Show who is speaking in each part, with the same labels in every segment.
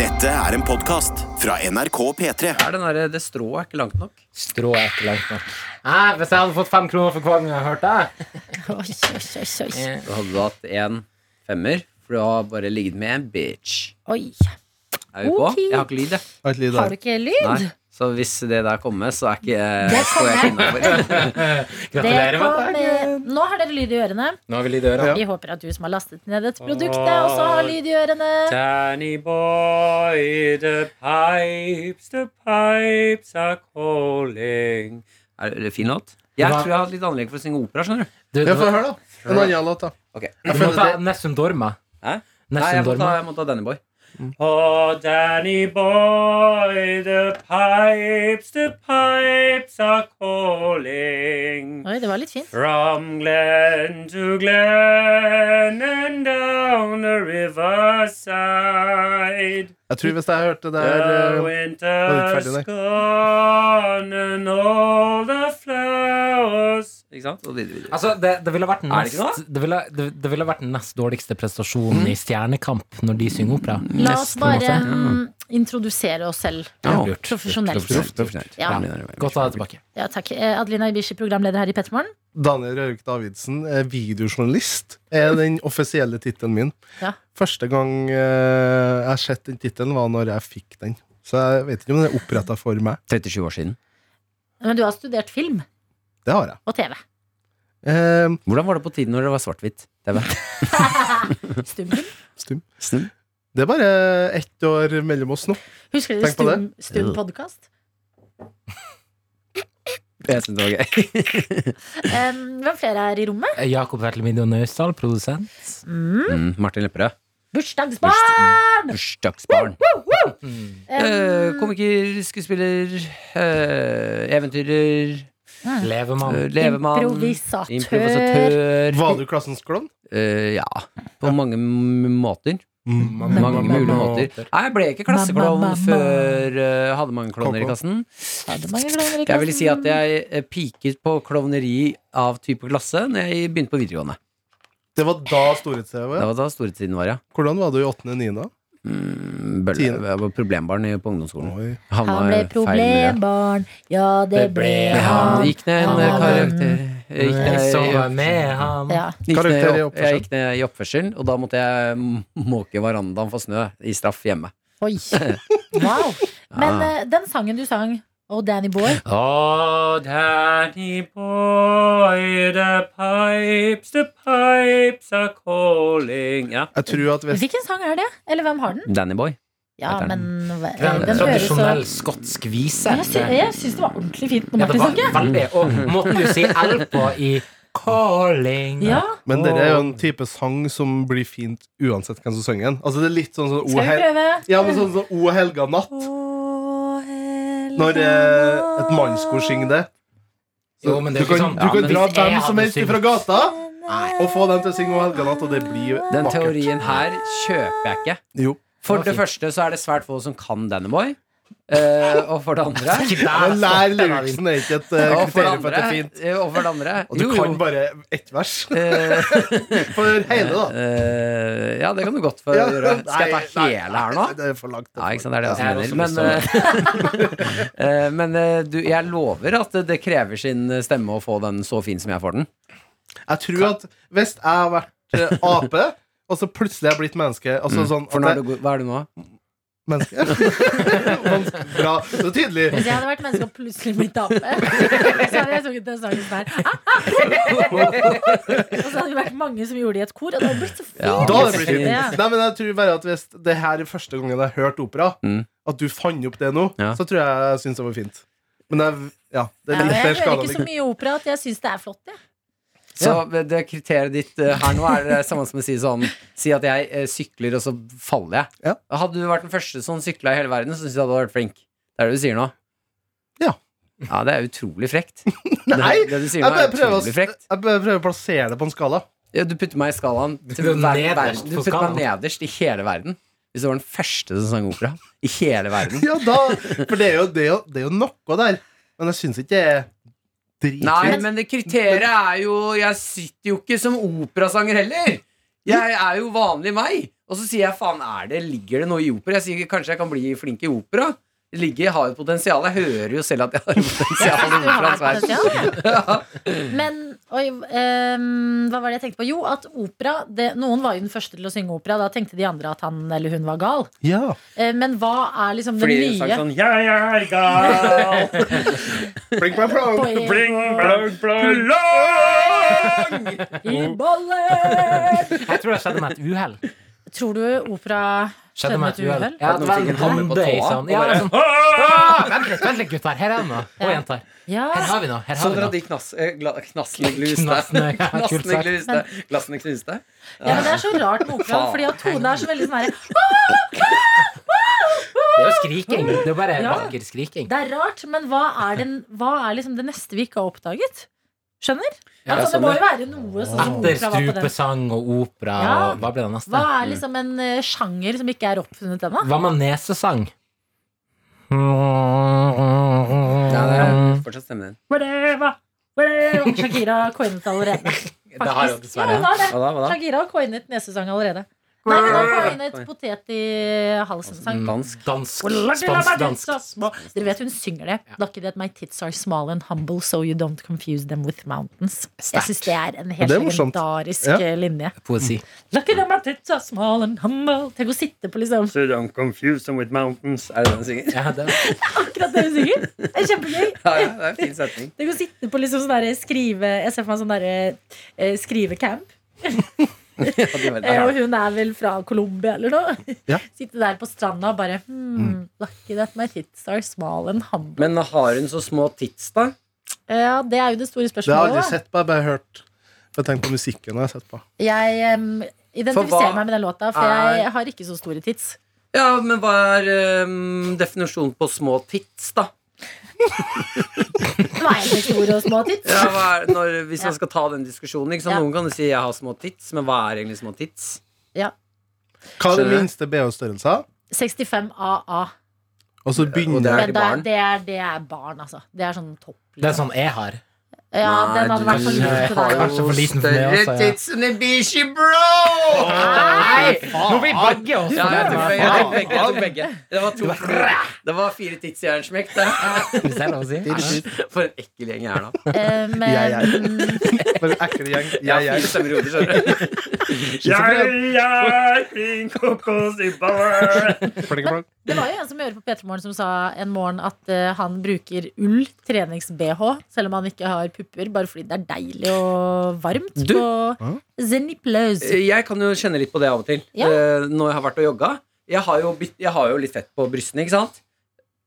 Speaker 1: Dette er en podkast fra NRK P3.
Speaker 2: Er den der, det strået er ikke langt nok.
Speaker 3: Strå er ikke langt nok. Nei, hvis jeg hadde fått fem kroner for hver gang jeg har hørt det
Speaker 4: Oi, oi, oi, oi.
Speaker 3: Eh.
Speaker 2: Da hadde du hatt en femmer, for du har bare ligget med en bitch.
Speaker 4: oi.
Speaker 2: Er vi på?
Speaker 4: Ok.
Speaker 2: Jeg har ikke lyd, jeg.
Speaker 5: Har et lyd
Speaker 4: Har
Speaker 5: der.
Speaker 4: du ikke lyd?
Speaker 2: Nei. Så hvis det der kommer, så er ikke eh,
Speaker 4: Det
Speaker 2: står jeg ikke innafor.
Speaker 3: Gratulerer med
Speaker 4: kom, eh, Nå har dere lyd i ørene.
Speaker 3: Nå har vi lyd i øra.
Speaker 4: Vi håper at du som har lastet ned dette produktet, også har lyd i ørene.
Speaker 3: Danny boy, the pipes, the pipes are calling
Speaker 2: Er det fin låt? Jeg
Speaker 3: Hva?
Speaker 2: tror jeg har hatt litt anlegg for å synge opera, skjønner du.
Speaker 3: Du,
Speaker 5: Ja,
Speaker 3: du,
Speaker 5: få høre, da. En annen låt, da.
Speaker 2: Ok.
Speaker 5: Jeg
Speaker 3: må
Speaker 5: føler
Speaker 3: ta
Speaker 5: det.
Speaker 3: Nessun Dorma.
Speaker 2: Hæ? Nei, jeg må
Speaker 3: Nessun
Speaker 2: ta,
Speaker 3: Dorma.
Speaker 2: jeg må ta Danny Boy.
Speaker 3: Oh, Danny boy, the pipes, the pipes are calling
Speaker 4: Oi, det var litt fint.
Speaker 3: From glen to glen and down the riverside
Speaker 5: Jeg tror hvis jeg hørte det
Speaker 3: The
Speaker 5: der eh,
Speaker 3: winter's
Speaker 5: ferdig der.
Speaker 3: gone and all the flowers
Speaker 2: Ikke sant? Og videre, videre.
Speaker 3: Altså, det, det ville vært
Speaker 2: Er det
Speaker 3: nest,
Speaker 2: ikke
Speaker 3: det, ville, det, det ville vært nest dårligste
Speaker 5: Mhm.
Speaker 3: prestasjonen i Stjernekamp når de synger opera.
Speaker 4: La oss
Speaker 3: Nest, på en
Speaker 4: bare
Speaker 3: måte.
Speaker 4: mm, introdusere oss selv
Speaker 2: Ja.
Speaker 4: profesjonelt.
Speaker 2: Proft, proft.
Speaker 4: Ja.
Speaker 3: Godt å ha deg tilbake.
Speaker 4: Ja, takk. Eh, Adelina Ibishi, programleder her i Pettermorgen.
Speaker 5: Daniel Røyk Davidsen, eh, videojournalist, er den offisielle tittelen min.
Speaker 4: Ja.
Speaker 5: Første gang eh, jeg har sett den tittelen, var når jeg fikk den. Så jeg vet ikke om den er oppretta for meg.
Speaker 2: 37 år siden.
Speaker 4: Men du har studert film
Speaker 5: Det har jeg.
Speaker 4: og TV.
Speaker 5: Eh,
Speaker 2: Hvordan var det på tiden når det var svart-hvitt? Det var
Speaker 4: Stumfilm.
Speaker 5: stum.
Speaker 2: Stum.
Speaker 5: Det er bare ett år mellom oss nå.
Speaker 4: Husker dere
Speaker 5: Tenk på
Speaker 4: Stum, stum podcast?
Speaker 2: Jeg synes det var gøy.
Speaker 4: Um, hvem flere er i rommet?
Speaker 3: Jakob Vertelmidio Naustdal, produsent.
Speaker 4: Mm.
Speaker 2: Mm, Martin Lepperød.
Speaker 4: Bursdagsbarn!
Speaker 2: Bursdagsbarn. Eh,
Speaker 4: Um,
Speaker 2: komiker, skuespiller, eh, eventyrer,
Speaker 3: Levemann.
Speaker 2: eh, levemann
Speaker 4: Improvisatør.
Speaker 2: improvisatør.
Speaker 5: Var du klassens klovn?
Speaker 2: Eh, ja, på mange m- måter.
Speaker 5: Mm.
Speaker 2: Mange mulige måter. Nei, jeg ble ikke klasseklovn
Speaker 4: Mamma, mamma.
Speaker 2: før jeg hadde mange klovner i
Speaker 5: Koko.
Speaker 2: klassen.
Speaker 4: hadde mange kloner i
Speaker 2: Jeg vil si at
Speaker 4: klassen.
Speaker 2: jeg eh, peaket på klovneri av type klasse Når jeg begynte på videregående.
Speaker 5: Det var da
Speaker 2: Det
Speaker 5: storhets-TV.
Speaker 2: var da storhetstiden var, ja.
Speaker 5: Hvordan var du i åttende, niende?
Speaker 2: Mm, bølle.
Speaker 5: Tiende.
Speaker 2: Jeg var problembarn i- på ungdomsskolen.
Speaker 5: Oi.
Speaker 2: Havna
Speaker 4: Han ble
Speaker 2: i feil miljø.
Speaker 4: problembarn, ja, det
Speaker 3: Det
Speaker 4: ble
Speaker 3: ble
Speaker 2: Ja,
Speaker 4: han.
Speaker 2: gikk ned en eh,
Speaker 4: Han-
Speaker 2: karakter gikk ned,
Speaker 3: Jeg
Speaker 2: ja.
Speaker 3: sover med ham.
Speaker 4: Ja.
Speaker 2: Gikk ned
Speaker 5: Karakter i
Speaker 2: opp-
Speaker 5: oppførsel.
Speaker 2: Jeg gikk ned i oppførsel, og da måtte jeg m- måke verandaen for snø i straff hjemme.
Speaker 4: Oi. Wow. Men eh, den sangen du sang, Oh Danny Boy,
Speaker 3: Oh, Danny boy, the pipes, the pipes are calling. Ja.
Speaker 5: Jeg tror at hvis
Speaker 4: hvilken sang er det? Eller hvem har den?
Speaker 2: Danny Boy.
Speaker 4: Ja,
Speaker 2: Heter
Speaker 4: men
Speaker 2: den.
Speaker 4: eh,
Speaker 3: En
Speaker 4: den høres så
Speaker 3: tradisjonell skotsk vise.
Speaker 4: Jeg sy- jeg syns det var ordentlig fint når
Speaker 3: Ja, det
Speaker 4: Martin
Speaker 3: var
Speaker 4: sang. ja.
Speaker 3: veldig Og måten du sier L på i calling
Speaker 4: Ja.
Speaker 5: Men dette er jo en type sang som blir fint uansett hvem som synger den. Altså, det er litt sånn sånn O
Speaker 4: Skal vi
Speaker 5: hel-
Speaker 4: prøve?
Speaker 5: Ja, men sånn som O helga natt. Når eh, et mannskor synger det.
Speaker 3: Jo, men det
Speaker 5: du
Speaker 3: er jo
Speaker 5: kan,
Speaker 3: ikke sånn
Speaker 5: du kan
Speaker 2: men
Speaker 5: dra
Speaker 3: hvis jeg
Speaker 5: hvem som
Speaker 3: hadde
Speaker 5: helst
Speaker 3: syngt-
Speaker 5: fra gata og få dem til å synge O helga natt, og det blir
Speaker 2: Den
Speaker 5: vakkert.
Speaker 2: teorien her kjøper jeg ikke.
Speaker 5: Jo.
Speaker 2: For
Speaker 3: var
Speaker 2: det
Speaker 3: fint.
Speaker 2: første så er det svært få som kan Danny Boy. Eh, og for det andre
Speaker 5: Men lær lyricsen er ikke et eh,
Speaker 2: og for det
Speaker 5: kriterium for at det
Speaker 2: andre,
Speaker 5: er fint.
Speaker 2: eh, og for det andre
Speaker 5: Og du
Speaker 2: jo, jo.
Speaker 5: kan bare ett vers.
Speaker 2: Eh,
Speaker 5: For hele, da.
Speaker 2: eh, ja, det kan du godt få
Speaker 5: Ja,
Speaker 2: gjøre. Skal jeg ta
Speaker 5: nei,
Speaker 2: hele her nå?
Speaker 5: nei, Det er for langt.
Speaker 2: Ja, ikke sant, det er det
Speaker 5: Ja.
Speaker 2: jeg også
Speaker 3: Jeg
Speaker 2: mener. Men, eh, eh, men eh, du, jeg lover at det krever sin stemme å få den så fin som jeg får den.
Speaker 5: Jeg tror at hvis jeg har vært eh, ape, og så plutselig er jeg blitt menneske altså sånn,
Speaker 2: Mm. For nå
Speaker 5: at
Speaker 2: er du, go- hva er du nå?
Speaker 5: jeg- Menneske? Vanskelig. Bra. Så tydelig.
Speaker 4: Hvis jeg hadde vært menneske og plutselig blitt ape, så hadde jeg sunget den sangen der. Ah, ah. Og så hadde det vært mange som gjorde det i et kor, og det hadde blitt så fint.
Speaker 2: Ja.
Speaker 5: Da hadde det blitt fint.
Speaker 4: Ja.
Speaker 5: Nei, men jeg tror bare at hvis det her er første gangen jeg har hørt opera,
Speaker 2: Mm.
Speaker 5: at du fant opp det nå,
Speaker 2: Ja.
Speaker 5: så tror jeg jeg syns det var fint. Men jeg, ja,
Speaker 4: Ja,
Speaker 5: det er
Speaker 4: men jeg
Speaker 5: litt mer
Speaker 4: hører
Speaker 5: skada
Speaker 4: ikke så mye opera at jeg syns det er flott. Jeg.
Speaker 2: Så det kriteriet ditt eh, her nå er det samme som å si sånn Si at jeg eh, sykler, og så faller jeg.
Speaker 5: Ja.
Speaker 2: Hadde du vært den første som sykla i hele verden, så syns jeg du hadde vært flink. Det er det du sier nå.
Speaker 5: Ja.
Speaker 2: Ja, det er utrolig frekt.
Speaker 5: Nei,
Speaker 2: det, det du sier
Speaker 5: jeg
Speaker 2: nå
Speaker 5: bare
Speaker 2: er
Speaker 5: prøver å,
Speaker 2: utrolig frekt.
Speaker 5: jeg bare prøver å plassere det på en skala.
Speaker 2: Ja, du putter meg i skalaen til
Speaker 3: Du er
Speaker 2: hver,
Speaker 3: nederst
Speaker 2: verden. Du
Speaker 3: på
Speaker 2: putter meg
Speaker 3: skalaen.
Speaker 2: nederst i hele verden. Hvis du var den første som sang opera i hele verden.
Speaker 5: Ja, da, for det er, jo, det, er jo, det er jo noe der. Men jeg syns ikke det er
Speaker 2: Nei,
Speaker 5: dritfint.
Speaker 2: men det kriteriet er jo Jeg sitter jo ikke som operasanger heller. Jeg er jo vanlig meg. Og så sier jeg faen, er det, ligger det noe i opera? Jeg sier kanskje jeg kan bli flink i opera. Det Ligger, jeg har jo et potensial. Jeg hører jo selv at jeg har et potensial. i
Speaker 4: Du har
Speaker 2: operaens verden.
Speaker 4: potensial. Men oi, ehm, hva var det jeg tenkte på? Jo, at opera det, Noen var jo den første til å synge opera. Da tenkte de andre at han eller hun var gal.
Speaker 5: Ja.
Speaker 4: Eh, Men hva er liksom den
Speaker 2: Fordi hun sang
Speaker 4: nye
Speaker 2: sånn Ja, ja, ja.
Speaker 5: Blink, blink,
Speaker 2: sånn
Speaker 5: blink.
Speaker 4: Poeng i bolle?
Speaker 3: Jeg tror det skjedde med et uhell.
Speaker 4: Tror du opera
Speaker 3: Skjedde med et uhell.
Speaker 2: At
Speaker 3: Ja, det
Speaker 2: noen
Speaker 3: var
Speaker 2: fikk
Speaker 3: en
Speaker 2: en hammer på
Speaker 3: håndbøy
Speaker 2: tåa,
Speaker 3: sånn.
Speaker 2: og
Speaker 3: Ja,
Speaker 2: bare-
Speaker 3: sånn. «Åh, Vent litt, vent litt, gutter. Her er det noe. Og jenter.
Speaker 4: Ja.
Speaker 3: Her har vi noe. Her
Speaker 2: Så
Speaker 3: har vi
Speaker 2: dere at de
Speaker 3: noe.
Speaker 2: knass, eh, gla- knassene gluste?
Speaker 3: Knassene, ja, kult
Speaker 2: Knassene
Speaker 3: sagt.
Speaker 2: gluste. Glassene knuste?
Speaker 4: ja, men Det er så rart med opera,
Speaker 2: Faen.
Speaker 4: fordi at tonen er så veldig sånn her
Speaker 3: Det er jo skriking. Det er jo bare
Speaker 4: Ja.
Speaker 3: vakker skriking.
Speaker 4: Det er rart, men hva er, den, hva er liksom det neste vi ikke har oppdaget? Skjønner?
Speaker 2: Ja,
Speaker 4: altså, det
Speaker 2: sånn,
Speaker 4: må
Speaker 2: ja.
Speaker 4: jo være noe sånn som opera var på den.
Speaker 3: Etterstrupesang og opera
Speaker 4: Ja.
Speaker 3: og Hva ble det neste?
Speaker 4: Hva er liksom en eh, sjanger som ikke er oppfunnet ennå?
Speaker 3: Hva med nesesang?
Speaker 2: Ja, det er fortsatt stemmen din.
Speaker 4: Whatever, whatever. Shakira har coinet allerede.
Speaker 2: Det har jo
Speaker 4: Faktisk. Ja,
Speaker 2: dessverre.
Speaker 4: hun har det.
Speaker 2: Hva da, hva da?
Speaker 4: Shakira har coinet nesesang allerede. Nei, hun har coinet potet i halsen-sang.
Speaker 2: Dansk.
Speaker 3: Dansk. Spansk, dansk.
Speaker 4: Dere vet hun synger det. Lucky that my tits are small and humble, so you don't confuse them with mountains. Jeg syns det er en helt
Speaker 5: Det er morsomt.
Speaker 4: legendarisk
Speaker 5: Ja.
Speaker 4: eh, linje.
Speaker 3: Poesi.
Speaker 4: Lucky that my tits are small and humble. Tenk å sitte på liksom
Speaker 2: So don't confuse them with mountains. Er det den synger?
Speaker 3: Ja, det
Speaker 4: akkurat det hun synger. Det er kjempegøy.
Speaker 2: Ja, ja, det er en fin setning.
Speaker 4: Tenk å sitte på liksom sånn derre skrive Jeg ser for meg sånn derre eh, skrivecamp.
Speaker 2: Ja, de var-
Speaker 4: Eh, Og hun er vel fra Colombia eller noe?
Speaker 5: Ja.
Speaker 4: Sitte der på stranda og bare hmm, Lucky that my tits are small and humble.
Speaker 2: Men har hun så små tits, da?
Speaker 4: Ja, det er jo det store
Speaker 5: Det har jeg aldri
Speaker 4: spørsmålet. da.
Speaker 5: sett på, jeg har bare hørt. Jeg tenker på musikken jeg har sett på.
Speaker 4: Jeg em, identifiserer
Speaker 2: hva
Speaker 4: meg med den låta, for
Speaker 2: er-
Speaker 4: jeg har ikke så store tits.
Speaker 2: Ja, men hva er ehm, definisjonen på små tits, da?
Speaker 4: Veiende store og små tits.
Speaker 2: Ja, hva er, når, hvis man
Speaker 4: Ja.
Speaker 2: skal ta den diskusjonen ikke sant?
Speaker 4: Ja.
Speaker 2: Noen kan jo si 'jeg har små tits', men hva er egentlig små tits?
Speaker 4: Ja.
Speaker 5: Hva er
Speaker 2: Skjønner
Speaker 5: den
Speaker 2: du?
Speaker 5: minste BH-størrelsen?
Speaker 4: 65 AA.
Speaker 5: Og så
Speaker 2: og
Speaker 5: begynner
Speaker 2: det
Speaker 5: jeg
Speaker 2: er-
Speaker 4: Men
Speaker 2: til
Speaker 4: da-
Speaker 2: barn?
Speaker 4: Det er, det er barn, altså. Det er sånn topp.
Speaker 3: er sånn jeg har.
Speaker 4: Ja,
Speaker 2: Nei,
Speaker 4: den hadde vært for
Speaker 2: du
Speaker 4: liten til
Speaker 2: har
Speaker 4: deg.
Speaker 3: Kanskje for liten for meg også, ja.
Speaker 2: tits enn en bikkje, bro! Nei!
Speaker 3: Nå vil begge oss
Speaker 2: Ja, jeg tok
Speaker 3: det.
Speaker 2: begge. Jeg tok begge, jeg tok begge. Det var to Det var fire tits i en smekk. det.
Speaker 3: Hvis det er lov å si.
Speaker 2: For en ekkel gjeng jeg er, da.
Speaker 4: Eh,
Speaker 5: Jeg,
Speaker 4: Men
Speaker 5: Bare ekkel gjeng. Jeg,
Speaker 2: Jeg har
Speaker 5: jeg.
Speaker 2: fire stemmer i hodet, skjønner du. Jeg er fin kokos i bar.
Speaker 5: Pling, plang.
Speaker 4: det var jo en som hører på P3 Morgen som sa en morgen at eh, han bruker ull, trenings-BH, selv om han ikke har pupper, bare fordi det er deilig og varmt
Speaker 2: Du? Eh,
Speaker 4: på Zenipløs.
Speaker 2: Jeg kan jo kjenne litt på det av og til.
Speaker 4: Ja.
Speaker 2: Eh, Når jeg har vært og jogga. Jeg har jo, bytt- jeg har jo litt fett på brystene, ikke sant?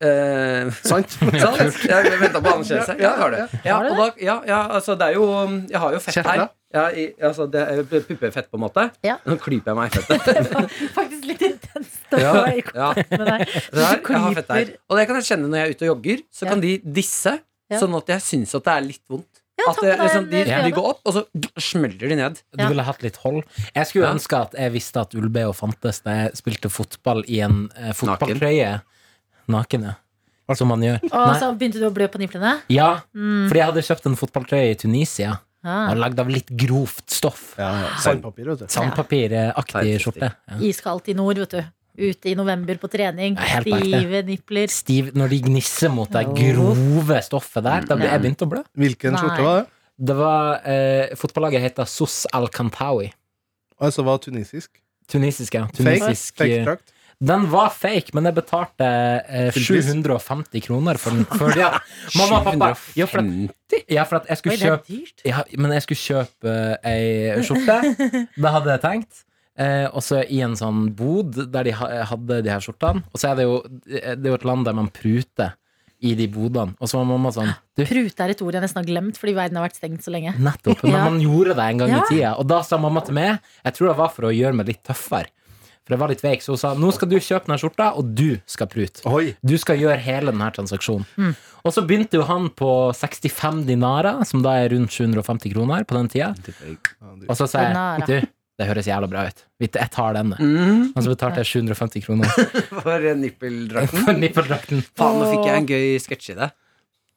Speaker 2: Eh,
Speaker 5: Sant?
Speaker 2: sant? Jeg venta på anerkjennelse. Ja, jeg har det. Ja,
Speaker 4: Har du
Speaker 2: og da, ja, ja, altså, det er jo Jeg har jo fett her.
Speaker 5: Kjertler?
Speaker 2: Ja, i, altså, det er puppefett, på en måte.
Speaker 4: Ja.
Speaker 2: Nå klyper jeg meg i fettet.
Speaker 4: Faktisk litt intenst å
Speaker 2: Ja.
Speaker 4: være i
Speaker 2: Ja.
Speaker 4: kontakt med deg.
Speaker 2: Det der,
Speaker 4: Du
Speaker 2: jeg har fett der.
Speaker 4: klyper.
Speaker 2: Og det kan jeg kjenne når jeg er ute og jogger. Så
Speaker 4: Ja.
Speaker 2: kan de disse,
Speaker 4: Ja.
Speaker 2: sånn at jeg syns at det er litt vondt.
Speaker 4: Ja,
Speaker 2: at
Speaker 4: ta
Speaker 2: det,
Speaker 4: på deg
Speaker 2: liksom, de,
Speaker 4: en, eh,
Speaker 2: de
Speaker 4: prøve.
Speaker 2: går opp, og så smeller de ned.
Speaker 3: Du ville hatt litt hold. Jeg skulle ønske at jeg visste at Ulbeo fantes da jeg spilte fotball i en eh, fotballtrøye. Naken, ja. Som man gjør.
Speaker 4: Og
Speaker 3: Nei.
Speaker 4: så Mm. begynte du å blø på nipplene.
Speaker 3: Ja, fordi jeg hadde kjøpt en fotballtrøye i Tunisia.
Speaker 4: Ah,
Speaker 3: Og lagd av litt grovt stoff.
Speaker 5: Ja, ja. Sandpapir, vet du.
Speaker 3: Sandpapiraktig skjorte. Ja.
Speaker 4: Iskaldt i nord, vet du. Ute i november på trening.
Speaker 3: Ja, helt merkelig.
Speaker 4: Stive nipler.
Speaker 3: Stiv, når de gnisser mot det
Speaker 4: Jo.
Speaker 3: grove stoffet der, da ble jeg begynt å blø.
Speaker 5: Hvilken
Speaker 4: Nei.
Speaker 5: skjorte var det?
Speaker 3: Det var eh, Fotballaget heter Sos Al Kantawi.
Speaker 5: Altså var tunisisk.
Speaker 3: Tunisisk, ja.
Speaker 5: Fake,
Speaker 3: Tunisisk,
Speaker 5: fake
Speaker 3: eh,
Speaker 5: drakt.
Speaker 3: den var fake, men jeg betalte eh,
Speaker 5: Full pris.
Speaker 3: 750 kroner for den. For, ja. Mamma og pappa ja, for, at, ja, for at jeg
Speaker 4: Oi,
Speaker 3: skulle
Speaker 4: det er
Speaker 3: kjøpe
Speaker 4: dyrt.
Speaker 3: ja, Men jeg skulle kjøpe eh, ei skjorte. Det hadde jeg tenkt. Eh, og så i en sånn bod der de ha, hadde de her skjortene. Og så er det jo eh, Det er jo et land der man pruter i de bodene. Og så var mamma sånn Du,
Speaker 4: Prute er et ord jeg nesten har glemt, fordi verden har vært stengt så lenge.
Speaker 3: Nettopp. Men
Speaker 4: Ja.
Speaker 3: man gjorde det en gang
Speaker 4: Ja.
Speaker 3: i tida. Og da sa mamma til meg Jeg tror det var for å gjøre meg litt tøffere. For jeg var litt veik, så hun sa nå skal du kjøpe denne skjorta, og du skal prute.
Speaker 5: Oi.
Speaker 3: Du skal gjøre hele denne transaksjonen.
Speaker 4: Mm.
Speaker 3: Og så begynte jo han på 65 dinarer, som da er rundt 750 kroner på den tida. Og så sa
Speaker 4: Dinara.
Speaker 3: jeg du, det høres jævla bra ut. Vet du, Jeg tar denne. Og så betalte jeg 750 kroner
Speaker 2: For eh, nippeldrakten.
Speaker 3: for nippeldrakten.
Speaker 2: Faen, nå fikk jeg en gøy sketsj i det.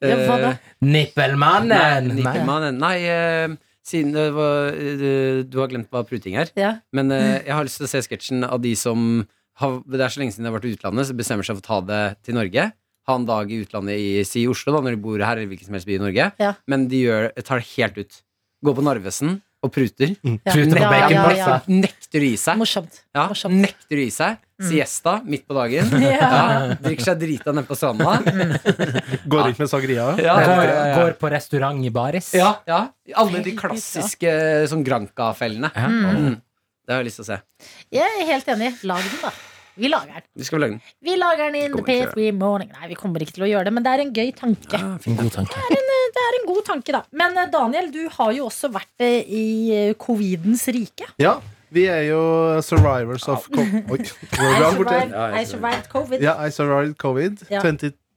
Speaker 4: Ja, hva da?
Speaker 2: Eh, Nei,
Speaker 3: Nippelmannen! Nei.
Speaker 2: nippelmannen. Nei, eh, Siden det var, du, du har glemt hva pruting er.
Speaker 4: Ja.
Speaker 2: Men
Speaker 4: Mm.
Speaker 2: eh, jeg har lyst til å se sketsjen av de som har, Det er så lenge siden de har vært i utlandet, så bestemmer seg for å ta det til Norge. Ha en dag i utlandet, i, si i Oslo, da, når de bor her, eller hvilken som helst by i Norge.
Speaker 4: Ja.
Speaker 2: Men de gjør, tar det helt ut. Går på Narvesen og pruter.
Speaker 4: Ja.
Speaker 3: Pruter på altså.
Speaker 4: Ja,
Speaker 3: bacon,
Speaker 4: ja,
Speaker 3: pasta.
Speaker 4: ja.
Speaker 2: Nekter å gi seg.
Speaker 4: Morsomt.
Speaker 2: Ja,
Speaker 4: Morsomt. Mm.
Speaker 2: nekter å gi seg. Siesta midt på dagen. Ja.
Speaker 4: Ja. Mm.
Speaker 2: drikker seg drita nede på stranda.
Speaker 5: Går rundt med sagria.
Speaker 2: Ja,
Speaker 3: går,
Speaker 2: ja, ja.
Speaker 3: går på restaurant i baris.
Speaker 2: ja, ja. Alle de klassiske sånn Granca-fellene.
Speaker 3: Ja.
Speaker 2: Mm. Det har jeg lyst til å se.
Speaker 4: Jeg er helt enig. Lag den, da. Vi lager den.
Speaker 2: Vi skal lage den.
Speaker 4: Vi lager den in the
Speaker 2: Kommer ikke
Speaker 4: P3 morning. Nei, vi kommer ikke til å gjøre det, men det er en gøy tanke.
Speaker 3: En god tanke.
Speaker 4: Det er en god tanke, da. Men eh, Daniel, du har jo også vært eh, i eh, covidens rike.
Speaker 5: Ja, vi er jo survivors of co- Oi,
Speaker 4: I
Speaker 5: går vi an borti her?
Speaker 4: survived, I survived covid.
Speaker 5: Ja, I survived covid
Speaker 4: Ja.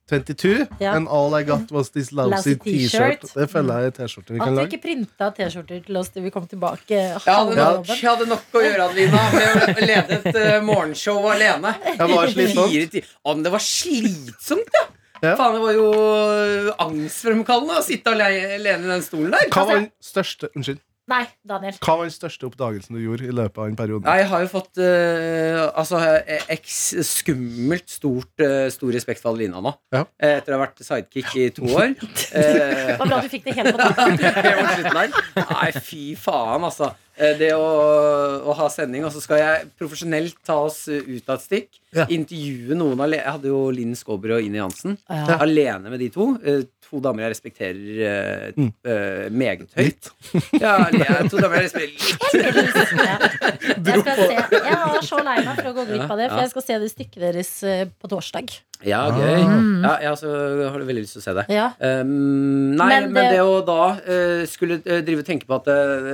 Speaker 5: 2022
Speaker 4: Ja.
Speaker 5: And all I got was this lousy
Speaker 4: Lousy t-shirt.
Speaker 5: t-shirt Det føler jeg er t-skjorte vi kan
Speaker 4: At du
Speaker 5: lage
Speaker 4: ikke printa T-skjorter til oss til vi kom tilbake.
Speaker 2: Jeg hadde,
Speaker 5: Ja.
Speaker 2: nok, jeg hadde nok å gjøre, Adelina, med å lede et eh, morgenshow alene.
Speaker 5: Jeg var slitsom
Speaker 2: Fire ti- Å, men det var slitsomt, ja!
Speaker 5: Ja.
Speaker 2: Faen, det var jo eh, angstfremkallende å sitte ale- alene i den stolen der.
Speaker 5: Hva var den største, unnskyld,
Speaker 4: Nei, Daniel.
Speaker 5: hva var den største oppdagelsen du gjorde i løpet av den perioden?
Speaker 2: Ja, jeg har jo fått eh, altså, eh, eks- skummelt stort, eh, stor respekt for Adelina nå.
Speaker 5: Ja.
Speaker 2: Eh, etter å ha vært sidekick i to år. Eh,
Speaker 4: Hva bra du fikk det helt på toppen.
Speaker 2: det var slutten her. Nei, fy faen, altså. Eh, Det å, å ha sending, og så skal jeg profesjonelt ta oss eh, ut av et stikk.
Speaker 5: Ja.
Speaker 2: Intervjue noen ale- Jeg hadde jo Linn Skåber og Ine Jansen.
Speaker 4: Ja.
Speaker 2: Alene med de to. Eh, To damer jeg respekterer eh,
Speaker 5: Mm.
Speaker 2: eh, meget høyt.
Speaker 5: Litt
Speaker 2: Ja, jeg- to damer jeg respekterer litt.
Speaker 4: Jeg, skal se. jeg var så lei meg for å gå glipp av det, for jeg skal se det stykket deres eh, på torsdag.
Speaker 2: Ja, gøy. Ja, jeg også har veldig lyst til å se det.
Speaker 4: Ja.
Speaker 2: Um, nei, men
Speaker 4: Men
Speaker 2: det,
Speaker 4: det-
Speaker 2: å da eh, skulle eh, drive og tenke på at eh,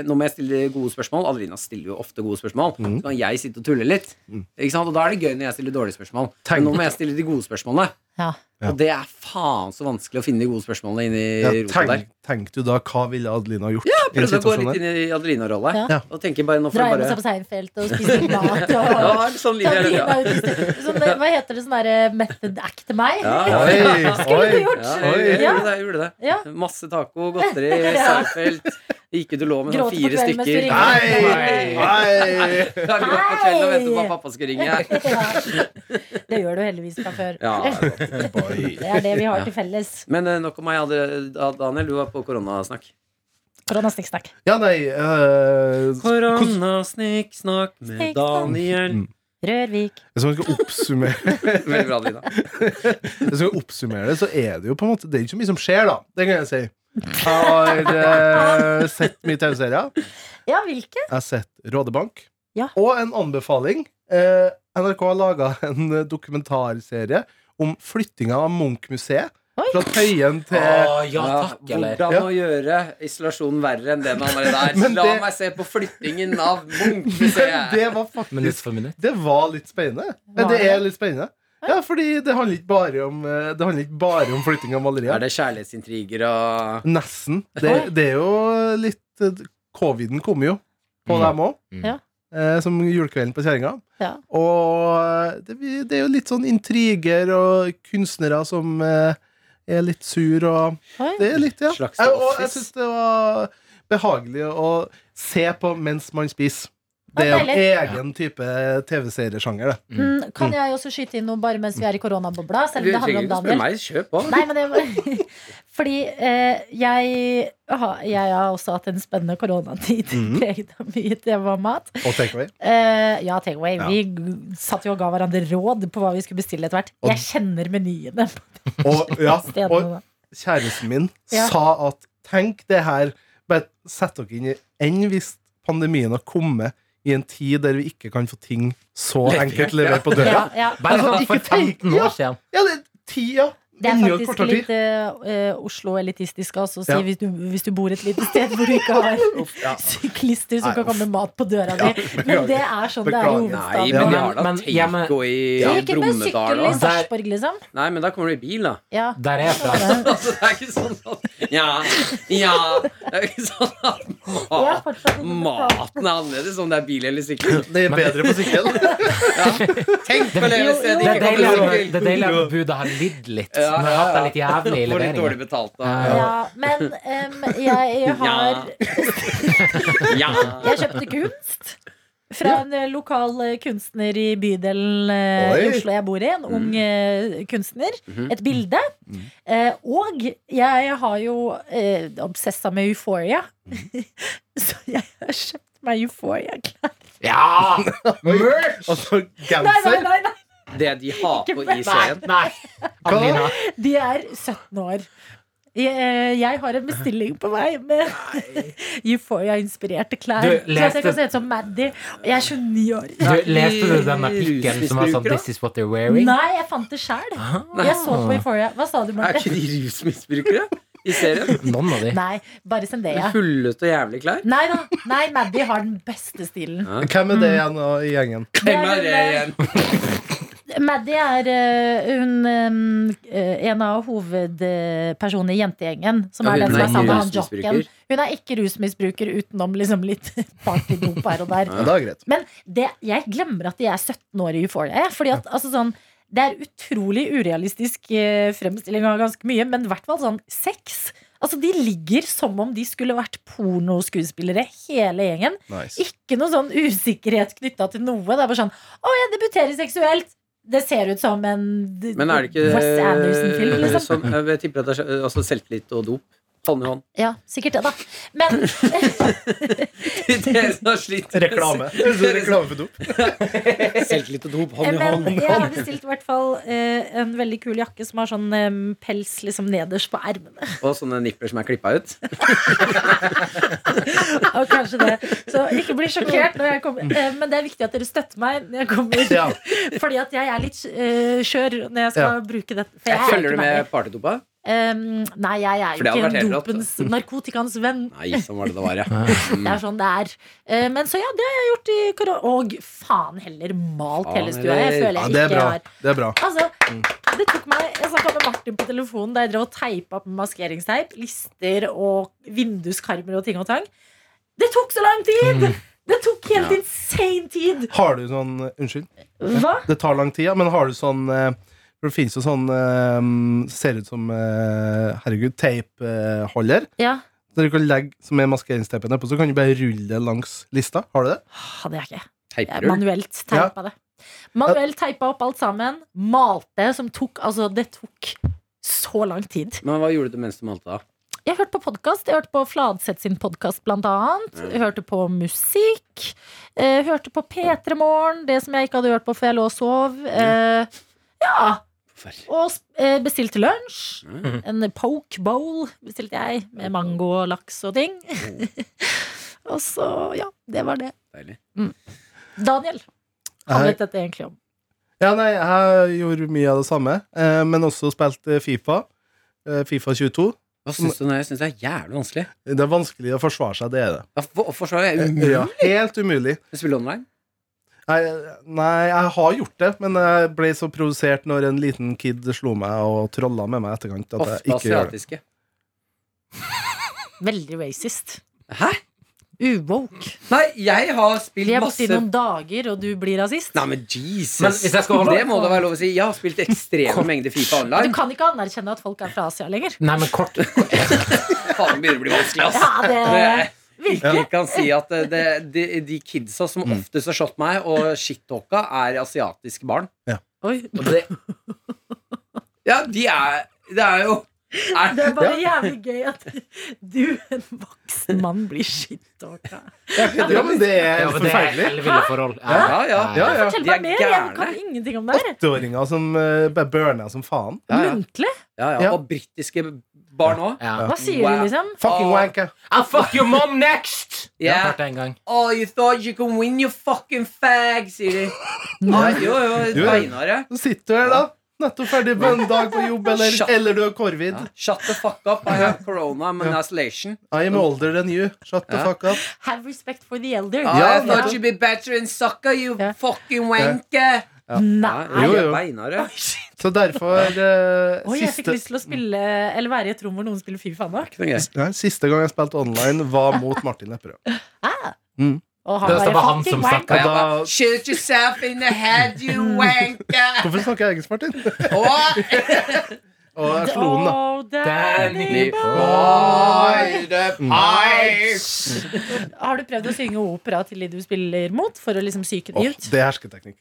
Speaker 2: eh, Nå må jeg stille gode spørsmål. Adelina stiller jo ofte gode spørsmål.
Speaker 5: Mm.
Speaker 2: Så kan jeg sitte og tulle litt. Ikke sant? Og da er det gøy når jeg stiller dårlige spørsmål.
Speaker 5: Tenk-
Speaker 2: Men nå må jeg stille de gode spørsmålene.
Speaker 4: Ja.
Speaker 5: Ja.
Speaker 2: Og det er faen så vanskelig å finne de gode spørsmålene inni
Speaker 5: ja,
Speaker 2: rotet der.
Speaker 5: tenk, Tenkte du da, hva ville Adelina gjort i en
Speaker 2: Prøvde å gå
Speaker 5: situasjon
Speaker 2: litt
Speaker 5: der?
Speaker 2: inn i Adelina-rolle.
Speaker 5: Ja.
Speaker 2: Og tenke bare nå får
Speaker 4: Dra
Speaker 2: jeg
Speaker 4: hjem og se
Speaker 2: bare
Speaker 4: på Seinfeld og spise mat og
Speaker 2: Ja, det er sånn liv
Speaker 4: Ta
Speaker 2: jeg
Speaker 4: tiden
Speaker 2: lever. ja.
Speaker 4: ut i sted. Sånn, eh, Hva heter det sånn derre method act til meg?
Speaker 2: Ja,
Speaker 5: Oi,
Speaker 4: Skulle du
Speaker 5: oi
Speaker 4: gjort?
Speaker 2: Ja, jeg
Speaker 4: Ja.
Speaker 2: gjorde det. Jeg gjorde det.
Speaker 4: Ja.
Speaker 2: Masse taco, godteri,
Speaker 4: Ja.
Speaker 2: Seinfeld. Gikk ut og lå med sånn
Speaker 4: Gråte på
Speaker 2: fire
Speaker 4: kvelden mens du
Speaker 2: stykker.
Speaker 4: ringer.
Speaker 5: Nei, nei
Speaker 2: Da lå jeg på kvelden og ventet på at pappa skulle ringe.
Speaker 4: Ja. Det gjør du heldigvis fra før.
Speaker 2: Ja.
Speaker 4: Det er det vi har til felles.
Speaker 2: Men eh, nok om meg. Adre- Da- Daniel, du var på koronasnakk.
Speaker 4: Koronasnikksnakk.
Speaker 5: Ja, nei eh,
Speaker 2: Koronasnikksnakk
Speaker 4: Snikksnakk. Daniel.
Speaker 5: Mm.
Speaker 4: Rørvik.
Speaker 5: Hvis man skal oppsummere
Speaker 2: Veldig bra, Lina.
Speaker 5: Hvis jeg skal oppsummere det, så er det jo på en måte Det er ikke så mye som skjer, da. Det kan jeg si. Jeg har eh, sett mye TV-serier.
Speaker 4: Ja, hvilke?
Speaker 5: Jeg har sett Rådebank.
Speaker 4: Ja.
Speaker 5: Og en anbefaling. Eh, NRK har laga en eh, dokumentarserie om flyttinga av Munch-museet
Speaker 4: Oi.
Speaker 5: fra Tøyen til
Speaker 3: ja takk, eller?
Speaker 2: Hvordan
Speaker 5: Ja.
Speaker 2: å gjøre isolasjonen verre enn den han er der.
Speaker 5: Men
Speaker 2: La
Speaker 5: det-
Speaker 2: meg se på flyttingen av
Speaker 5: Det
Speaker 2: Munch-museet.
Speaker 5: var
Speaker 3: Minutt
Speaker 5: faktisk
Speaker 3: for minutt.
Speaker 5: Det var litt spennende. Eh, Det er litt spennende. Ja, fordi det handler ikke bare om eh, Det handler ikke bare om flytting av
Speaker 2: Er
Speaker 5: malerier.
Speaker 2: det kjærlighetsintriger og
Speaker 5: Nesten. Det, det er jo litt eh, Coviden kommer jo på
Speaker 3: Mm.
Speaker 5: dem òg.
Speaker 4: Ja.
Speaker 5: Eh, som julekvelden på kjerringa.
Speaker 4: Ja.
Speaker 5: Og det, det er jo litt sånn intriger og kunstnere som eh, er litt sur og
Speaker 4: Oi.
Speaker 5: Det er litt, ja.
Speaker 2: Slags
Speaker 5: Jeg, og jeg
Speaker 2: office.
Speaker 5: syns det var behagelig å se på mens man spiser.
Speaker 4: Å,
Speaker 5: Det er jo
Speaker 4: deilig.
Speaker 5: egen type TV-seriesjanger, det.
Speaker 4: Mm, kan jeg også skyte inn noe bare mens vi er i koronabobla? Selv
Speaker 2: Du
Speaker 4: om det handler
Speaker 2: trenger ikke å
Speaker 4: om
Speaker 2: spørre
Speaker 4: Daniel.
Speaker 2: meg. Kjør på.
Speaker 4: Nei, men det var Fordi eh, jeg, har- jeg har også hatt en spennende koronatid preget av mye temamat.
Speaker 5: Og takeaway.
Speaker 4: Eh, ja, takeaway.
Speaker 5: Ja.
Speaker 4: Vi g- satt jo og ga hverandre råd på hva vi skulle bestille etter hvert.
Speaker 5: Og-
Speaker 4: Jeg kjenner menyene. på
Speaker 5: Og, ja, og
Speaker 4: stedene.
Speaker 5: kjæresten min
Speaker 4: Ja.
Speaker 5: sa at tenk det her Bare sett dere inn i Enn hvis pandemien har kommet i en tid der vi ikke kan få ting så enkelt levert på døra.
Speaker 4: Ja, ja.
Speaker 3: Bare
Speaker 5: Altså,
Speaker 3: for
Speaker 5: ikke
Speaker 3: 15
Speaker 5: tenk-
Speaker 3: år siden.
Speaker 5: Ja, det er ti, ja.
Speaker 4: Det er
Speaker 5: Enda et
Speaker 4: faktisk
Speaker 5: kvarter
Speaker 4: litt eh,
Speaker 5: til.
Speaker 4: eh, Oslo-elitistisk også, å si
Speaker 5: Ja.
Speaker 4: hvis, du, hvis du bor et lite sted hvor du ikke har
Speaker 5: ja.
Speaker 4: syklister som
Speaker 5: Nei,
Speaker 4: kan
Speaker 5: uff.
Speaker 4: komme med mat på døra
Speaker 5: Ja,
Speaker 4: di. Men det er sånn det er i
Speaker 5: Beklager.
Speaker 2: Nei, men
Speaker 3: Ja,
Speaker 4: hovedstaden.
Speaker 2: jeg har da
Speaker 3: men- ja, men-
Speaker 2: takeaway
Speaker 4: Ja,
Speaker 2: i
Speaker 4: ikke med
Speaker 2: Brumunddal
Speaker 4: sykkel i
Speaker 2: og
Speaker 4: Sarpsborg, liksom.
Speaker 2: Nei, men da kommer det bil, da.
Speaker 4: Ja.
Speaker 3: Der er jeg fra.
Speaker 2: Altså, det er ikke sånn at Ja, ja Det er ikke sånn at
Speaker 4: Jeg har
Speaker 2: mat,
Speaker 4: fortsatt ikke betalt.
Speaker 2: maten er annerledes om det er bil eller sykkel.
Speaker 5: Det er bedre på sykkel.
Speaker 2: Tenk å leve et sted
Speaker 4: Jo,
Speaker 2: de
Speaker 3: Det er
Speaker 4: jo.
Speaker 2: ikke kommer
Speaker 3: deilig at-
Speaker 2: sykkel.
Speaker 3: det er deilig at budet har lidd litt.
Speaker 2: Ja,
Speaker 3: Når jeg har hatt det litt jævlig i
Speaker 2: Får litt dårlig
Speaker 3: leveringen.
Speaker 2: betalt,
Speaker 3: Ja.
Speaker 2: da.
Speaker 4: Ja, men em, jeg har
Speaker 2: Ja.
Speaker 4: Jeg kjøpte kunst fra en eh, lokal eh, kunstner i bydelen eh, i
Speaker 5: Oi.
Speaker 4: Oslo jeg bor i. En ung eh, kunstner.
Speaker 2: Mhm.
Speaker 4: Et bilde. Eh, og jeg har jo eh, obsessa med Euphoria. Så jeg har kjøpt meg Euphoria-klær.
Speaker 3: Ja! Merch!
Speaker 5: Altså,
Speaker 4: Nei, nei,
Speaker 5: genser?
Speaker 4: nei, nei!
Speaker 2: Det de har på i
Speaker 3: Nei,
Speaker 2: serien.
Speaker 3: nei. Adelina.
Speaker 4: De er 17 år. Jeg, eh, jeg har en bestilling på vei med Euphoria-inspirerte klær.
Speaker 3: Du,
Speaker 4: Så at
Speaker 3: leste-
Speaker 4: jeg kan se ut som Maddy. Og jeg er 29 år.
Speaker 3: Du, leste du den artikkelen som var sånn
Speaker 2: Rusmisbrukere?
Speaker 3: This is what they're wearing?
Speaker 4: Nei, jeg fant det sjæl. Jeg så på Euphoria. Hva sa du,
Speaker 2: Ah. Er
Speaker 4: Marte?
Speaker 2: ikke de rusmisbrukere i serien?
Speaker 3: Noen av de.
Speaker 4: Nei, bare Zendaya.
Speaker 2: Hullete og jævlig klær.
Speaker 4: Nei da. Nei, Maddy har den beste stilen.
Speaker 5: Hvem er det
Speaker 4: Mm.
Speaker 5: igjen av- i gjengen?
Speaker 4: Det er
Speaker 2: Hvem er det igjen?
Speaker 4: Maddy er øh, hun øh, en av hovedpersonene i jentegjengen. Som
Speaker 2: Ja, hun
Speaker 4: er den som
Speaker 2: er
Speaker 4: er sammen med han
Speaker 2: rusmisbruker.
Speaker 4: jocken. Hun er ikke rusmisbruker utenom liksom litt partydop her og der.
Speaker 5: Ja, det er greit.
Speaker 4: Men det, jeg glemmer at de er 17 år i Euphoria. jeg, Fordi at, altså sånn, det er utrolig urealistisk eh, fremstilling av ganske mye, men i hvert fall sånn sex. Altså, de ligger som om de skulle vært pornoskuespillere, hele gjengen.
Speaker 5: Nice.
Speaker 4: Ikke noe sånn usikkerhet knytta til noe. Det er bare sånn Å, jeg debuterer seksuelt! Det ser ut som en d-
Speaker 2: Men er det
Speaker 4: Wes Anderson-film,
Speaker 2: ikke eh,
Speaker 4: liksom.
Speaker 2: sånn Jeg tipper at det er altså, selvtillit og dop. Hånd i hånd.
Speaker 4: Ja, sikkert det, da. Men
Speaker 2: Dere som har slitt med
Speaker 5: Reklame. Reklame for dop.
Speaker 2: Selvtillit og dop, hånd i hånd.
Speaker 4: eh, Men jeg har bestilt i hvert fall eh, en veldig kul jakke som har sånn eh, pels liksom nederst på ermene.
Speaker 2: Og sånne nipper som er klippa ut.
Speaker 4: Ja, kanskje det. Så ikke bli sjokkert når jeg kommer. Eh, Men det er viktig at dere støtter meg når jeg kommer.
Speaker 5: Ja.
Speaker 4: Fordi at jeg er litt eh, skjør når jeg skal
Speaker 5: Ja.
Speaker 4: bruke dette. For jeg er
Speaker 2: Følger
Speaker 4: ikke
Speaker 2: du med
Speaker 4: meg.
Speaker 2: partydopa?
Speaker 4: Em, nei, jeg er
Speaker 2: For det hadde
Speaker 4: ikke
Speaker 2: vært helt rått.
Speaker 4: dopens, narkotikaens venn.
Speaker 2: Nei, sånn var det det var, ja.
Speaker 4: Det er sånn det er. Eh, men så ja, det har jeg gjort i korona. Og faen heller malt
Speaker 2: Faen
Speaker 4: hele stua. Jeg
Speaker 2: heller.
Speaker 4: føler
Speaker 5: Ja,
Speaker 4: jeg
Speaker 5: det er
Speaker 4: ikke
Speaker 5: bra.
Speaker 4: har
Speaker 5: Det er bra.
Speaker 4: Altså, det tok meg Jeg snakka med Martin på telefonen da jeg drev og teipa opp med maskeringsteip. Lister og vinduskarmer og ting og tang. Det tok så lang tid! Det tok helt
Speaker 2: Ja.
Speaker 4: insane tid!
Speaker 5: Har du sånn Unnskyld,
Speaker 4: Hva?
Speaker 5: det tar lang tid, ja, men har du sånn eh, for Det finnes jo sånn eh, Ser ut som eh, Herregud, teipholder.
Speaker 4: Ja,
Speaker 5: Der du kan legge som er maskeringsteipen nedpå, så kan du bare rulle det langs lista. Har du det?
Speaker 4: hadde jeg ikke. Jeg
Speaker 2: Teiprull.
Speaker 4: manuelt teipa det. Manuelt teipa opp alt sammen. Malte, som tok Altså, det tok så lang tid.
Speaker 2: Men hva gjorde du mens du malte? da?
Speaker 4: Jeg hørte på podkast. Jeg hørte på Fladseth sin podkast, blant annet. Jeg hørte på musikk. Eh, hørte på P3 Morgen, det som jeg ikke hadde hørt på før jeg lå og sov. Eh, ja.
Speaker 2: Forferdelig.
Speaker 4: Og sp- eh, bestilte lunsj.
Speaker 2: Mm.
Speaker 4: En poke bowl bestilte jeg, med mango og laks og ting.
Speaker 2: Oh.
Speaker 4: og så, ja. Det var det.
Speaker 2: Deilig.
Speaker 4: Daniel, hva vet
Speaker 5: Jeg,
Speaker 4: dette egentlig om?
Speaker 5: Eh, ja, nei, jeg gjorde mye av det samme, eh, men også spilte Fifa. eh, Fifa 22.
Speaker 2: Hva syns du nå? Jeg syns det er jævlig vanskelig.
Speaker 5: Det er vanskelig å forsvare seg, det er det.
Speaker 2: Ja, for- Forsvaret er umulig.
Speaker 5: Eh, Ja, helt umulig.
Speaker 2: Du spiller online?
Speaker 5: Nei, nei, jeg har gjort det, men jeg ble så provosert når en liten kid slo meg og trolla med meg i etterkant. At jeg
Speaker 2: Ofte
Speaker 5: ikke gjør det.
Speaker 2: asiatiske.
Speaker 4: Veldig racist.
Speaker 2: Hæ?
Speaker 4: Uwoke.
Speaker 2: Nei, jeg har
Speaker 4: Vi
Speaker 2: spilt
Speaker 4: er borte
Speaker 2: masse
Speaker 4: i noen dager, og du blir rasist.
Speaker 2: Nei, men Jesus!
Speaker 3: Men hvis jeg skal holde-
Speaker 2: det må det være lov å si. Jeg har spilt ekstreme mengder Fifa
Speaker 4: Du
Speaker 2: online.
Speaker 4: kan ikke anerkjenne at folk er fra Asia lenger.
Speaker 3: Nei, men kort
Speaker 2: Faen, det begynner å bli vanskelig, ass.
Speaker 4: Ja, det
Speaker 2: Virkelig kan si at eh, det, de, de kidsa som
Speaker 5: Mm.
Speaker 2: oftest har slått meg, og shit-talka, er asiatiske barn.
Speaker 4: Oi.
Speaker 2: Ja, de er Det er jo er,
Speaker 4: Det er bare jævlig gøy at du, en voksen mann, blir shittalka.
Speaker 5: Ja, men det er
Speaker 3: Ja, men det er
Speaker 5: forferdelig.
Speaker 3: elleville forhold.
Speaker 2: Ja, ja.
Speaker 5: Ja, ja.
Speaker 4: Fortell
Speaker 2: De er
Speaker 4: meg mer. Jeg kan
Speaker 2: gærne.
Speaker 4: ingenting om det her.
Speaker 5: Åtteåringer som eh, bare burner som faen.
Speaker 2: Ja, ja.
Speaker 4: Muntlig?
Speaker 2: ja, ja. Og britiske barn òg.
Speaker 3: Ja.
Speaker 4: Hva sier du,
Speaker 2: Wow.
Speaker 4: liksom?
Speaker 5: Fucking wank, ja.
Speaker 3: I'll fuck your mom next!
Speaker 2: Ja.
Speaker 3: Jeg har hørt det en gang.
Speaker 2: Oh, you thought you could win, you fucking fag, sier de. Ah, jo, jo,
Speaker 5: Jo, jo.
Speaker 2: beinharde.
Speaker 5: Så sitter du her, da. Nettopp ferdig på en dag på jobb, eller,
Speaker 2: Shut-
Speaker 5: eller du har korvid.
Speaker 2: Ja. Shut the fuck up, I have corona, I'm in isolation.
Speaker 5: I am older than you. Shut the
Speaker 2: Ja.
Speaker 5: fuck up.
Speaker 4: Have respect for the elder.
Speaker 2: Ah,
Speaker 5: Ja,
Speaker 2: I
Speaker 5: men-
Speaker 2: thought you'd be better in soccer, you
Speaker 4: Ja.
Speaker 2: fucking wanker.
Speaker 4: Nei.
Speaker 5: Jo, jo.
Speaker 2: Beinharde.
Speaker 5: Så derfor eh,
Speaker 4: Oi, jeg fikk
Speaker 5: siste,
Speaker 4: lyst til å spille Eller være i et rom hvor noen spiller Fifa nå.
Speaker 5: ja, siste gang jeg spilte online, var mot Martin Lepperød.
Speaker 4: Og
Speaker 3: Det var han
Speaker 4: fucking
Speaker 3: som
Speaker 4: wank.
Speaker 3: snakka.
Speaker 5: Og da,
Speaker 2: Shoot yourself in the head, you wanker!
Speaker 5: hvorfor snakker jeg engelsk, Martin?
Speaker 2: Åh!
Speaker 5: Og jeg slo den, da.
Speaker 4: Oh, Danny
Speaker 2: Boy,
Speaker 4: Har du prøvd å synge opera til de du spiller mot, for å liksom psyke dem
Speaker 5: Åh,
Speaker 4: ut?
Speaker 5: det er hersketeknikk.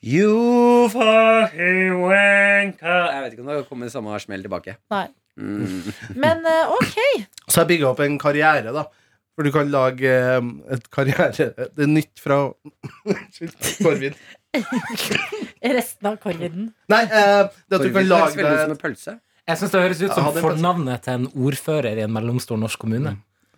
Speaker 2: You fucking wanker Jeg vet ikke om det kommer samme smell tilbake.
Speaker 4: Nei.
Speaker 2: Mm.
Speaker 4: Men eh, ok.
Speaker 5: Så jeg bygga opp en karriere, da. For du kan lage eh, et karriere Det er nytt fra Korvin.
Speaker 4: Resten av korviden.
Speaker 5: Nei, eh, det at du kan lage
Speaker 2: veldig ut som
Speaker 5: deg
Speaker 2: en pølse.
Speaker 3: Jeg syns det høres ut
Speaker 5: Jeg
Speaker 3: som
Speaker 5: hadde en plass.
Speaker 3: fornavnet til en ordfører i en mellomstor norsk
Speaker 2: Mm.
Speaker 3: kommune.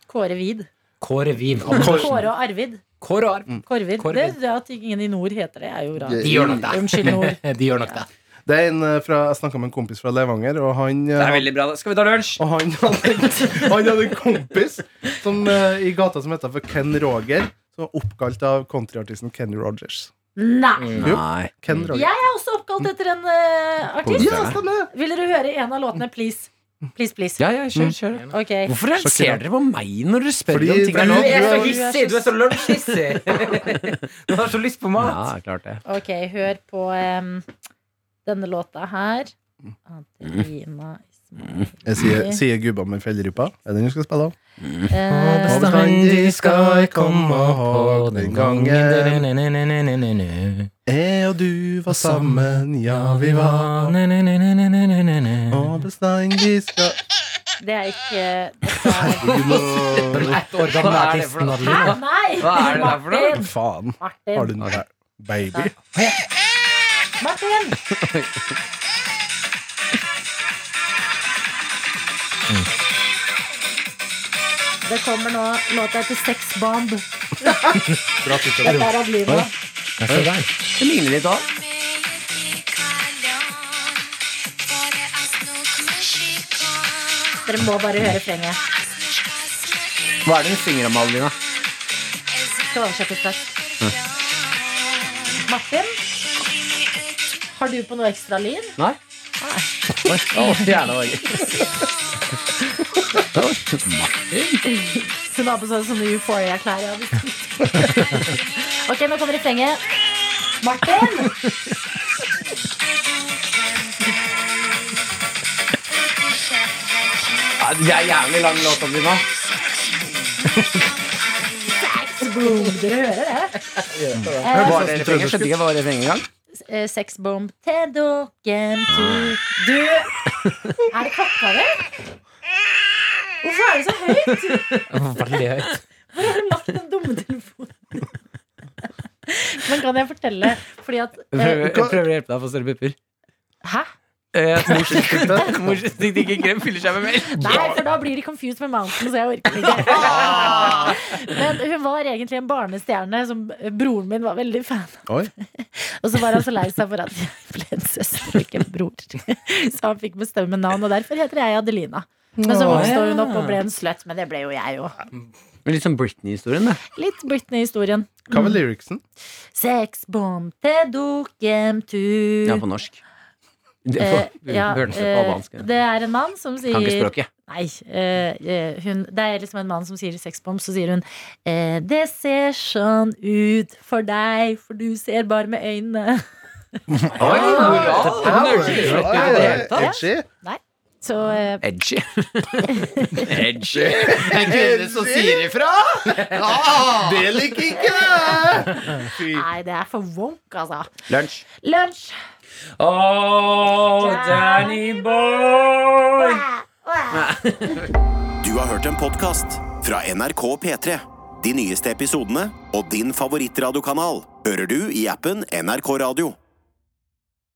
Speaker 4: Kåre Vid.
Speaker 3: Kåre Viv.
Speaker 4: Kåre og Arvid.
Speaker 3: Kåre
Speaker 2: Mm.
Speaker 3: Arv.
Speaker 4: Korvid.
Speaker 3: Korvid.
Speaker 4: Det, det at ingen i nord heter det, er jo rart.
Speaker 3: De gjør nok
Speaker 2: Mm.
Speaker 3: det.
Speaker 4: Unnskyld, nord.
Speaker 3: De gjør nok det.
Speaker 5: Det er en eh, fra Jeg snakka med en kompis fra Levanger, og han eh,
Speaker 2: Det er veldig bra. da. Skal vi ta lunsj?
Speaker 5: Og han hadde, han hadde en kompis som, eh, i gata som heta for Ken Roger. Som var oppkalt av countryartisten Kenny Rogers.
Speaker 4: Nei.
Speaker 5: Jo.
Speaker 2: Nei.
Speaker 5: Ken Roger.
Speaker 4: Jeg er også oppkalt etter en eh, artist.
Speaker 5: Ja, stemmer!
Speaker 4: Vil dere høre en av låtene, please? Please, please.
Speaker 2: Ja, ja,
Speaker 5: Mm.
Speaker 2: kjør, kjør.
Speaker 4: Ok.
Speaker 2: Hvorfor er- ser dere på meg når dere spør
Speaker 5: Fordi
Speaker 2: om ting?
Speaker 5: du
Speaker 2: nå?
Speaker 5: er så
Speaker 4: hissig, du er så
Speaker 3: lunsjhissig! Du har så lyst på mat.
Speaker 2: Ja, klart det.
Speaker 4: Ok, hør på em, denne låta her. Adelina Ismail.
Speaker 5: Jeg sier, sier gubba med fellerypa. Er det den du skal spille av?
Speaker 4: Eh,
Speaker 5: Og bestandig skal jeg komme og den gangen Jeg og du var sammen, ja, vi var Og bestandig skal
Speaker 4: det er ikke dette er-
Speaker 5: Du må
Speaker 3: Ett år
Speaker 2: Hva
Speaker 3: gamle
Speaker 2: er det for
Speaker 3: artisten
Speaker 2: noe?
Speaker 4: Hæ?
Speaker 3: Adelina.
Speaker 4: Nei!
Speaker 2: Hva er det der for noe?
Speaker 4: Martin!
Speaker 5: Faen. Har du
Speaker 4: Martin!
Speaker 5: den der? Baby.
Speaker 4: Martin! Det kommer nå låta til Sex Bomb. Dette er Adelina.
Speaker 3: Hør der.
Speaker 2: Det ligner litt òg.
Speaker 4: Dere må bare høre refrenget.
Speaker 2: Hva er det hun synger om, Adelina?
Speaker 4: Skal oversettes straks.
Speaker 2: Hm.
Speaker 4: Martin, har du på noe ekstra lyd?
Speaker 2: Nei? Oi, å, gjerne
Speaker 4: Hun har på seg sånne Euphoria-klær. jeg hadde tenkt. ok, nå kommer refrenget. Martin!
Speaker 2: Ja, det er jævlig lang låt, Adelina.
Speaker 4: Sex bomb. Dere hører det?
Speaker 2: Var det refrenget? Skjønte ikke hva det refrenget engang.
Speaker 4: Eh, sex bomb til dokken to Du! Er det klokka di? Hvorfor er det så høyt?
Speaker 3: Veldig høyt.
Speaker 4: Hvor har du lagt den dumme telefonen? Men kan jeg fortelle? Fordi at eh,
Speaker 2: Jeg prøver å hjelpe deg å få større pupper.
Speaker 4: Hæ?
Speaker 2: Morsdikt ikke krem fyller seg med melk.
Speaker 4: Nei, for da blir de confused med Mountain, så jeg orker ikke. Men hun var egentlig en barnestjerne som broren min var veldig fan av.
Speaker 5: Oi.
Speaker 4: Og så var han så lei seg for at jeg ble en søster og ikke en bror. Så han fikk bestemme navn, og derfor heter jeg Adelina. Men så vokste hun opp og ble en slutt, men det ble jo jeg òg.
Speaker 2: Litt sånn Britney-historien, det.
Speaker 4: Litt Britney-historien.
Speaker 5: Hva var lyricsen?
Speaker 4: Sex bomb te dukem tu.
Speaker 2: Ja, på norsk. Det
Speaker 4: Eh,
Speaker 2: på-
Speaker 4: ja,
Speaker 2: hørtes litt
Speaker 4: eh,
Speaker 2: albansk ut.
Speaker 4: det er en mann som sier
Speaker 2: Kan ikke språket.
Speaker 4: Nei. eh, eh, hun, det er liksom en mann som sier sexbomb, så sier hun eh, Det ser sånn ut for deg, for du ser bare med øynene.
Speaker 2: Oi, moral! Den er jo ikke
Speaker 5: Ja,
Speaker 2: slett ut
Speaker 5: ja,
Speaker 2: i det
Speaker 5: ja,
Speaker 2: hele tatt.
Speaker 5: edgy.
Speaker 4: Så eh,
Speaker 2: Edgy. Edgy. En kvinne som sier ifra.
Speaker 5: Det liker ikke jeg! Fy.
Speaker 4: Nei, det er for wonk, altså.
Speaker 2: Lunsj.
Speaker 4: Lunsj!
Speaker 3: Oh, Danny boy!
Speaker 1: Du har hørt en podcast fra NRK P3. De nyeste episodene og din favorittradiokanal hører du i appen NRK Radio.